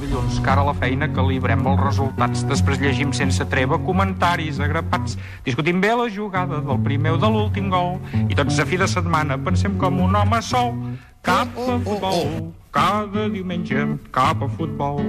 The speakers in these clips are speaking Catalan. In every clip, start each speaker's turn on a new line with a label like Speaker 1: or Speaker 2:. Speaker 1: dilluns, cara a la feina, calibrem els resultats, després llegim sense treva comentaris agrapats, discutim bé la jugada del primer o de l'últim gol, i tots a fi de setmana pensem com un home sol, cap a futbol, cada diumenge, cap a futbol.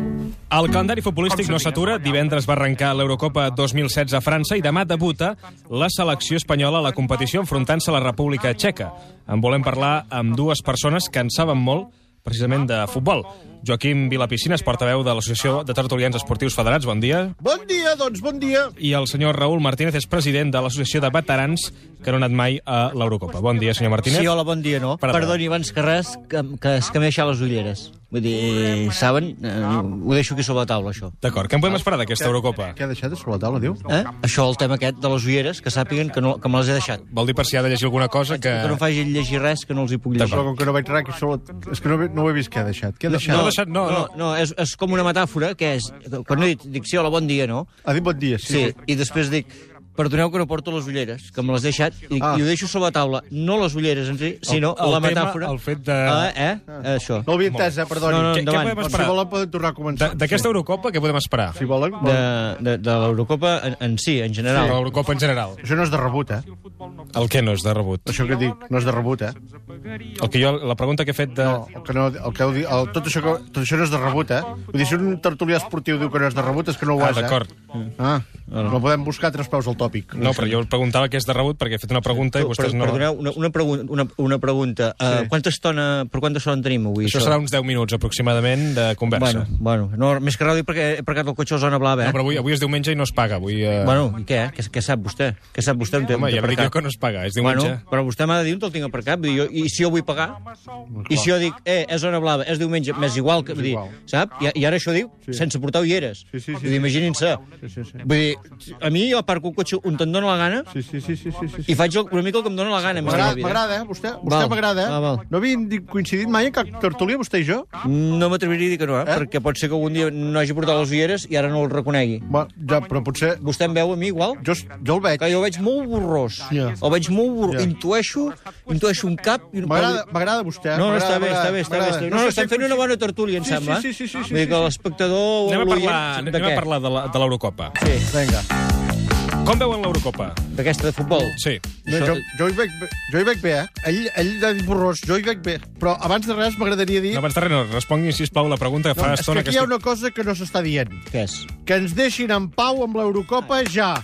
Speaker 2: El calendari futbolístic no s'atura. Divendres va arrencar l'Eurocopa 2016 a França i demà debuta la selecció espanyola a la competició enfrontant-se a la República Txeca. En volem parlar amb dues persones que en saben molt precisament de futbol. Joaquim Vilapicines, portaveu de l'Associació de Tertulians Esportius Federats, bon dia.
Speaker 3: Bon dia, doncs, bon dia.
Speaker 2: I el senyor Raül Martínez és president de l'Associació de Veterans que no han anat mai a l'Eurocopa. Bon dia, senyor Martínez.
Speaker 4: Sí, hola, bon dia, no?
Speaker 2: Perdó.
Speaker 4: Perdó. Perdoni, abans que res, que, que es que m'he deixat les ulleres. Vull dir, saben? Eh, ho deixo aquí sobre la taula, això.
Speaker 2: D'acord, què en podem esperar d'aquesta Eurocopa?
Speaker 3: Què ha deixat sobre la taula, diu?
Speaker 4: Eh? Això, el tema aquest de les ulleres, que sàpiguen que, no, que me les he deixat.
Speaker 2: Vol dir per si ha de llegir alguna cosa que...
Speaker 4: Que no em facin llegir res, que no els hi puc llegir.
Speaker 3: Però com que no veig res, que sobre... la- és que no, ve- no ho he vist què ha deixat. Què ha deixat?
Speaker 2: no ha deixat- no,
Speaker 4: no, no és, és com una metàfora, que és... Quan he dit, dic, sí, hola, bon dia, no?
Speaker 3: Ha dit bon dia, sí.
Speaker 4: Sí, i després dic, perdoneu que no porto les ulleres, que me les he deixat, i,
Speaker 3: Ah.
Speaker 4: ah. i ho deixo sobre la taula. No les ulleres en si, sinó
Speaker 2: el
Speaker 4: la
Speaker 2: tema,
Speaker 4: metàfora.
Speaker 2: el fet de-
Speaker 4: Ah, eh? eh? Això.
Speaker 3: No ho havia entès, eh, perdoni.
Speaker 4: No, no,
Speaker 2: Què- Què
Speaker 4: endavant.
Speaker 2: podem
Speaker 3: Doncs,
Speaker 2: esperar?
Speaker 3: si volen poden tornar a
Speaker 2: De-
Speaker 3: començar.
Speaker 2: D'aquesta Eurocopa, què podem esperar?
Speaker 3: Si volen,
Speaker 4: De,
Speaker 3: volen.
Speaker 4: de, de l'Eurocopa en, en si, en
Speaker 2: De
Speaker 4: general.
Speaker 2: l'Eurocopa en general.
Speaker 3: Això no és de rebut, eh?
Speaker 2: El que no és de rebut.
Speaker 3: Això que dic, no és de rebut, eh?
Speaker 2: El que jo, la pregunta que he fet de...
Speaker 3: No, el que no, el que heu dit, el, tot, això que, tot això no és de rebut, eh? Vull dir, si un tertulià esportiu diu que no és de rebut, és que no ho
Speaker 2: Ah,
Speaker 3: és, eh?
Speaker 2: d'acord.
Speaker 3: Ah, no podem buscar tres peus al tòpic.
Speaker 2: No, però jo preguntava què és de rebut perquè he fet una pregunta i vostès
Speaker 4: Per-
Speaker 2: no...
Speaker 4: Perdoneu, una, una, pregun una, una pregunta. Uh, sí. quanta estona, per quanta estona tenim avui?
Speaker 2: Això serà uns 10 minuts aproximadament de conversa.
Speaker 4: Bueno, bueno, no, més que res dic perquè he aparcat el cotxe a la zona blava, eh?
Speaker 2: No, però avui, avui és diumenge i no es paga. Avui, eh...
Speaker 4: Bueno, i què? Què, què sap vostè? Què sap vostè?
Speaker 2: home, ja dic jo que no es paga, és diumenge.
Speaker 4: Bueno, però vostè m'ha de dir on te'l tinc aparcat. Vull dir, jo, I si jo vull pagar? I si jo dic, eh, és zona blava, és diumenge, m'és igual que... Vull dir,
Speaker 3: igual.
Speaker 4: sap? I, I ara això diu, sí. sense portar ulleres.
Speaker 3: Sí, sí, sí,
Speaker 4: Vull dir,
Speaker 3: sí.
Speaker 4: Imaginin-se.
Speaker 3: Sí, sí, sí.
Speaker 4: Vull dir, a mi jo aparco el cotxe on te'n dóna la gana
Speaker 3: Sí, sí, sí, sí, sí, sí.
Speaker 4: i faig el- una mica el que em dóna la gana. més
Speaker 3: M'agrada,
Speaker 4: de la vida.
Speaker 3: m'agrada, eh? Vostè, vostè
Speaker 4: Val.
Speaker 3: m'agrada,
Speaker 4: Ah,
Speaker 3: eh?
Speaker 4: val.
Speaker 3: No havien di- coincidit mai en cap tertulià, vostè i jo?
Speaker 4: No m'atreviria a dir que no, eh?
Speaker 3: Eh?
Speaker 4: eh? perquè pot ser que algun dia no hagi portat les ulleres i ara no el reconegui.
Speaker 3: Bueno, ja, però potser...
Speaker 4: Vostè em veu a mi igual?
Speaker 3: Jo, jo el veig.
Speaker 4: Que jo el veig molt borrós.
Speaker 3: Ja.
Speaker 4: El veig molt borrós.
Speaker 3: Ja.
Speaker 4: Intueixo, intueixo un cap... I un
Speaker 3: M'agrada m'agrada vostè. eh?
Speaker 4: No, no,
Speaker 3: m'agrada,
Speaker 4: està bé, està
Speaker 3: m'agrada,
Speaker 4: bé, està bé.
Speaker 3: m'agrada.
Speaker 4: Està bé. No, no,
Speaker 3: sé
Speaker 4: estem
Speaker 3: si
Speaker 4: fent una
Speaker 3: coincidit.
Speaker 4: bona tertúlia, em
Speaker 3: Sí,
Speaker 4: sembla.
Speaker 3: sí, sí, sí, sí,
Speaker 4: Vull dir
Speaker 3: sí,
Speaker 4: que
Speaker 3: sí.
Speaker 4: l'espectador...
Speaker 2: Anem a
Speaker 4: l'oient,
Speaker 2: parlar,
Speaker 4: de
Speaker 2: anem a
Speaker 4: què?
Speaker 2: parlar de la- de l'Eurocopa.
Speaker 4: Sí,
Speaker 3: Vinga.
Speaker 2: Com veuen l'Eurocopa?
Speaker 4: d'aquesta de futbol.
Speaker 2: Sí.
Speaker 3: No, jo, jo, hi veig, bé- jo hi veig bé, eh? Ell, ell ha dit borrós, jo hi veig bé. Però abans de res m'agradaria dir...
Speaker 2: No, abans de res, no, respongui, sisplau, la pregunta que fa
Speaker 3: No,
Speaker 2: no,
Speaker 3: és que
Speaker 2: estona que,
Speaker 3: aquí hi ha una cosa que no s'està dient.
Speaker 4: Què és?
Speaker 3: Que ens deixin en pau amb l'Eurocopa ja.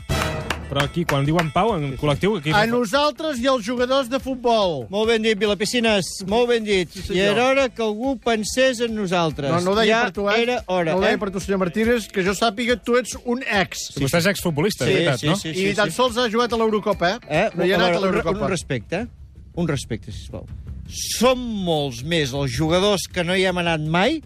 Speaker 2: Però aquí, quan diuen pau, en col·lectiu... Aquí...
Speaker 3: A nosaltres i als jugadors de futbol.
Speaker 4: Molt ben dit, Vilapicines, molt ben dit. Sí, I era hora que algú pensés en nosaltres.
Speaker 3: No, no ho deia
Speaker 4: ja
Speaker 3: per tu, eh?
Speaker 4: era hora,
Speaker 3: no ho deia
Speaker 4: eh?
Speaker 3: per tu, senyor Martínez, que jo sàpiga tu ets un ex.
Speaker 2: Sí, Vostè és exfutbolista, és veritat, no?
Speaker 4: sí, sí,
Speaker 3: I
Speaker 4: sí,
Speaker 3: tan
Speaker 4: sí.
Speaker 3: sols ha jugat a l'Eurocopa, eh?
Speaker 4: Eh?
Speaker 3: No hi ha
Speaker 4: A
Speaker 3: anat a
Speaker 4: veure, un re- Un
Speaker 3: l'Eurocopa.
Speaker 4: respecte, eh? un respecte, sisplau. Som molts més els jugadors que no hi hem anat mai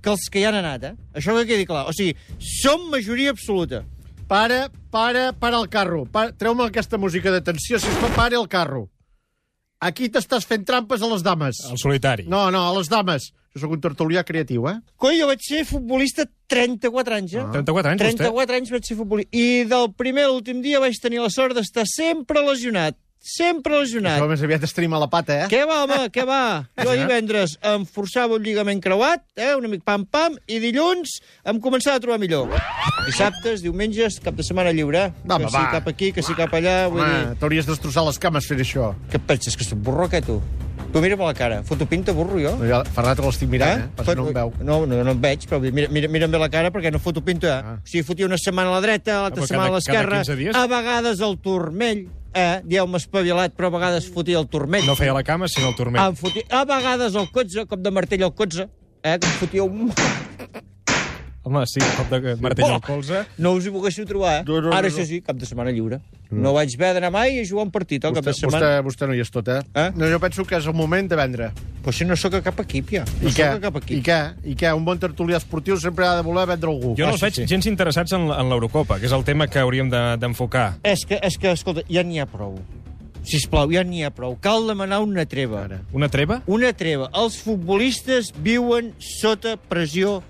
Speaker 4: que els que hi han anat, eh? Això que quedi clar. O sigui, som majoria absoluta.
Speaker 3: Para, para, para el carro. Pa- Treu-me aquesta música d'atenció, sisplau, para el carro. Aquí t'estàs fent trampes a les dames.
Speaker 2: El solitari.
Speaker 3: No, no, a les dames. Jo sóc un tertulià creatiu, eh?
Speaker 4: Coi, jo vaig ser futbolista 34 anys, eh?
Speaker 3: Ah.
Speaker 2: 34 anys, 34...
Speaker 4: 34 anys vaig ser futbolista. I del primer a l'últim dia vaig tenir la sort d'estar sempre lesionat. Sempre lesionat.
Speaker 3: Això més aviat es trima la pata, eh?
Speaker 4: Ah. Què va, home, què va? Jo divendres em forçava un lligament creuat, eh, un amic pam-pam, i dilluns em començava a trobar millor. Dissabtes, diumenges, cap de setmana lliure.
Speaker 3: Va,
Speaker 4: que
Speaker 3: home,
Speaker 4: si
Speaker 3: va.
Speaker 4: cap aquí, que si cap allà... Vull dir...
Speaker 3: Home, t'hauries d'estrossar les cames fent això.
Speaker 4: Què et penses, que soc burro, què, tu? Tu mira'm a la cara. Foto pinta, burro, jo.
Speaker 3: No, ja, fa rato que l'estic mirant, eh? eh? Per si no em veu.
Speaker 4: No, no, no em veig, però mira, mira, mira'm bé la cara perquè no foto pinta. Eh?
Speaker 3: Ah.
Speaker 4: O sigui, fotia una setmana a la dreta, l'altra
Speaker 2: però
Speaker 4: setmana a
Speaker 2: cada- cada
Speaker 4: l'esquerra,
Speaker 2: 15 dies?
Speaker 4: a vegades al turmell, eh? Dieu, m'he espavilat, però a vegades fotia el turmell.
Speaker 2: No feia la cama, sinó el turment.
Speaker 4: Em fotia, a vegades el cotxe, com de martell al cotxe, eh, que em fotia un...
Speaker 2: Home, sí, Oh! un cop de martell al colze.
Speaker 4: No us hi poguéssiu trobar, eh?
Speaker 3: No, no, no, no.
Speaker 4: Ara, això sí, cap de setmana lliure. No vaig haver d'anar mai a jugar un partit, el cap
Speaker 3: Vostè,
Speaker 4: de
Speaker 3: vostè,
Speaker 4: setmana.
Speaker 3: vostè no hi és tot, eh?
Speaker 4: Eh?
Speaker 3: No, jo penso que és el moment de vendre.
Speaker 4: Però si no sóc a cap equip, ja. No
Speaker 3: I
Speaker 4: sóc
Speaker 3: què?
Speaker 4: a cap
Speaker 3: I
Speaker 4: equip.
Speaker 3: què? I què? Un bon tertulià esportiu sempre ha de voler vendre algú.
Speaker 2: Jo no
Speaker 3: Ah,
Speaker 2: els
Speaker 3: sí,
Speaker 2: veig
Speaker 3: sí.
Speaker 2: gens interessats en, en l'Eurocopa, que és el tema que hauríem de- d'enfocar. De,
Speaker 4: És que, és que, escolta, ja n'hi ha prou. Sisplau, ja n'hi ha prou. Cal demanar una treva.
Speaker 3: Ara.
Speaker 2: Una treva?
Speaker 4: Una treva. Els futbolistes viuen sota pressió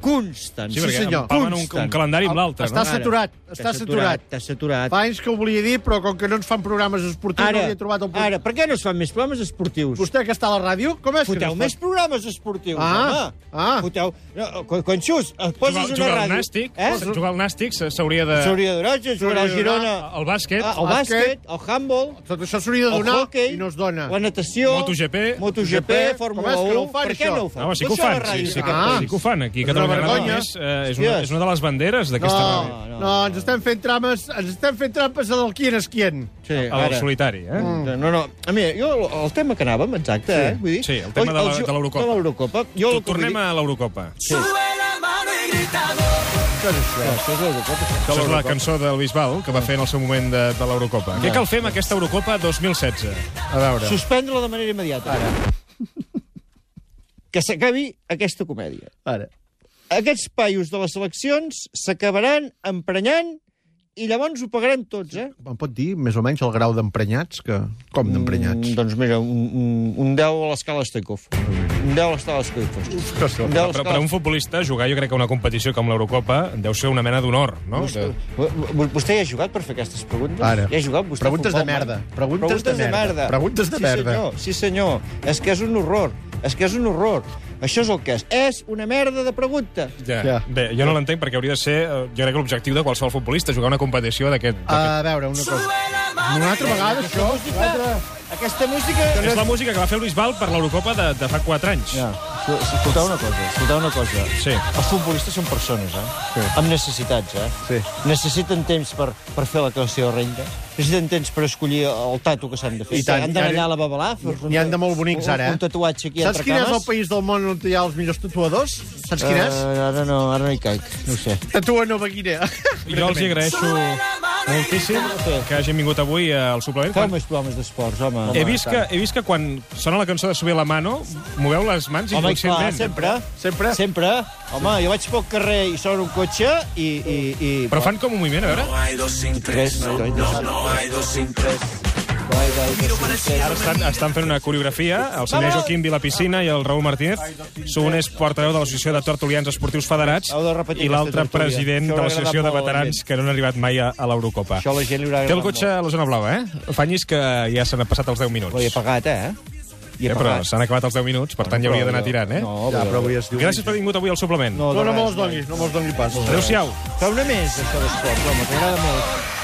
Speaker 4: Consten.
Speaker 3: Sí, perquè senyor.
Speaker 2: empaven un, un calendari amb l'altre,
Speaker 3: Està
Speaker 2: no?
Speaker 3: saturat, està saturat.
Speaker 4: Està saturat.
Speaker 3: Fa anys que ho volia dir, però com que no ens fan programes esportius,
Speaker 4: Ara,
Speaker 3: no li he trobat el punt.
Speaker 4: ara, per què no es fan més programes esportius?
Speaker 3: Vostè que està a la ràdio, com és que
Speaker 4: Foteu
Speaker 3: no
Speaker 4: més programes esportius,
Speaker 3: Ah,
Speaker 4: home.
Speaker 3: ah.
Speaker 4: Foteu... No, quan, quan xus, et
Speaker 5: Jugar,
Speaker 4: poses una
Speaker 5: jugar al
Speaker 4: ràdio...
Speaker 5: nàstic,
Speaker 4: Eh?
Speaker 5: eh? jugar al nàstic s- s'hauria de...
Speaker 4: S'hauria de donar, jugarà al Girona...
Speaker 5: El bàsquet,
Speaker 4: Ah, el
Speaker 3: bàsquet,
Speaker 4: bàsquet, el handball,
Speaker 3: Tot això s'hauria de
Speaker 4: el
Speaker 3: donar
Speaker 4: hockey,
Speaker 3: i no es dona.
Speaker 4: la natació...
Speaker 5: MotoGP.
Speaker 4: MotoGP,
Speaker 3: MotoGP,
Speaker 4: Fórmula
Speaker 3: com és que
Speaker 4: 1...
Speaker 3: no ho fan,
Speaker 4: per què
Speaker 3: això?
Speaker 4: no ho fan?
Speaker 2: Home, sí que ho
Speaker 4: Tot això a
Speaker 2: fan,
Speaker 4: la
Speaker 2: sí,
Speaker 4: ràdio
Speaker 2: sí, que,
Speaker 4: catalana.
Speaker 3: Ah.
Speaker 2: sí que ho fan. Aquí a Catalunya
Speaker 3: És una
Speaker 2: Ràdio
Speaker 3: vergonya.
Speaker 2: és, eh, és, una, és una de les banderes
Speaker 3: No,
Speaker 2: d'aquesta ràdio.
Speaker 3: no, no, ens estem fent trames, ens estem fent trampes del qui és qui.
Speaker 4: Sí,
Speaker 2: Al
Speaker 4: ara. Mm.
Speaker 2: solitari, eh?
Speaker 4: No, no. A mi, jo, el- el tema que anàvem, exacte, sí. eh? Vull dir,
Speaker 2: Sí, el tema de la-
Speaker 4: ju-
Speaker 2: de l'Eurocopa.
Speaker 4: De l'Eurocopa. Jo el que vull
Speaker 2: Tornem
Speaker 4: dir...
Speaker 2: a l'Eurocopa.
Speaker 4: Això és l'Eurocopa. Ah. sí.
Speaker 2: Això és la cançó del Bisbal, que va fer en el seu moment de, de l'Eurocopa. Què cal fer amb aquesta Eurocopa 2016? A veure.
Speaker 4: Suspendre-la de manera immediata. Ara. Que s'acabi aquesta comèdia.
Speaker 3: Ara.
Speaker 4: Aquests paios de les seleccions s'acabaran emprenyant i llavors ho pagarem tots, eh?
Speaker 3: Em pot dir més o menys el grau d'emprenyats? Que... Com d'emprenyats?
Speaker 4: Mm, doncs mira, un, un, un 10 a l'escala Stoikov. Un 10 a l'escala Stoikov. Un 10
Speaker 2: Però
Speaker 4: a
Speaker 2: per a
Speaker 4: l'escala
Speaker 2: un futbolista, jugar jo crec que una competició com l'Eurocopa deu ser una mena d'honor, no? De...
Speaker 4: Vo- Vostè hi ha jugat per fer aquestes preguntes?
Speaker 3: Ara.
Speaker 4: Hi ha jugat vostè a
Speaker 3: Preguntes
Speaker 4: futbol,
Speaker 3: de merda.
Speaker 4: Marc?
Speaker 3: Preguntes de merda. Preguntes de
Speaker 4: sí,
Speaker 3: merda.
Speaker 4: Senyor, sí, senyor. És que és un horror. És que és un horror. Això és el que és. És una merda de pregunta.
Speaker 2: Ja.
Speaker 3: Ja.
Speaker 2: Bé, jo no l'entenc perquè hauria de ser, eh, jo crec que l'objectiu de qualsevol futbolista, jugar una competició d'aquest...
Speaker 4: Ah.
Speaker 3: A veure, una cosa. Una altra vegada, això. una altra-
Speaker 4: Aquesta música...
Speaker 2: És la música que va fer el Bisbal per l'Eurocopa de, de fa 4 anys.
Speaker 4: Ja. Escolteu una cosa, escolteu una cosa.
Speaker 2: Sí.
Speaker 4: Els futbolistes són persones, eh?
Speaker 3: Sí.
Speaker 4: Amb necessitats, eh?
Speaker 3: Sí.
Speaker 4: Necessiten temps per, per fer la creació de renda. Necessiten temps per escollir el tatu que s'han de fer.
Speaker 3: I tant,
Speaker 4: han d'anar
Speaker 3: i ara-
Speaker 4: allà a la babalà. fer-se
Speaker 3: N'hi han de
Speaker 4: un-
Speaker 3: molt bonics,
Speaker 4: un-
Speaker 3: ara, eh?
Speaker 4: Un tatuatge aquí
Speaker 3: Saps
Speaker 4: entre
Speaker 3: quin és el
Speaker 4: cames?
Speaker 3: país del món on hi ha els millors tatuadors? Saps quin és?
Speaker 4: Eh, ara no, ara no hi caic, no ho sé.
Speaker 3: Tatua Nova Guinea.
Speaker 2: Jo els hi agraeixo moltíssim que hagin vingut avui eh, al suplement.
Speaker 4: Feu
Speaker 2: Quan...
Speaker 4: més programes d'esports, home.
Speaker 2: He vist, que, he vist que quan sona la cançó de Subir la mano, moveu les mans
Speaker 4: Home, clar,
Speaker 2: inconscientment.
Speaker 4: sempre.
Speaker 3: Sempre.
Speaker 4: Sempre. Home, jo vaig pel carrer i sona un cotxe i... i, i...
Speaker 2: Però fan com un moviment, a veure.
Speaker 4: Tres, no, no, no, hay dos sin tres. No hay dos sin tres.
Speaker 2: Ara estan, estan fent una coreografia, el senyor Joaquim Vilapiscina i el Raül Martínez. Un és portaveu de l'Associació de Tortolians Esportius Federats
Speaker 4: Heu de repetir
Speaker 2: i l'altre
Speaker 4: aquesta tertúlia.
Speaker 2: president
Speaker 4: Això
Speaker 2: de
Speaker 4: m'ha
Speaker 2: l'Associació de
Speaker 4: agradat molt a la
Speaker 2: Veterans que no han arribat mai a, a l'Eurocopa.
Speaker 4: Això a la gent li haurà
Speaker 2: Té el
Speaker 4: agradat
Speaker 2: cotxe a la zona blava, eh? Fanyis que ja s'han passat els 10
Speaker 4: Però hi he
Speaker 2: minuts.
Speaker 4: pagat, eh? Hi
Speaker 2: Eh,
Speaker 4: he
Speaker 2: però
Speaker 4: pagat.
Speaker 2: s'han acabat els 10 minuts, per tant ja hauria d'anar tirant, eh?
Speaker 4: No,
Speaker 3: Ja, però avui es diu...
Speaker 2: Gràcies per haver vingut avui al suplement.
Speaker 4: No,
Speaker 3: No,
Speaker 4: de
Speaker 3: no
Speaker 4: res,
Speaker 3: me'ls
Speaker 4: no.
Speaker 3: donis, no me'ls doni pas.
Speaker 2: Adéu-siau.
Speaker 4: Fa una més, això d'esports, home, t'agrada molt.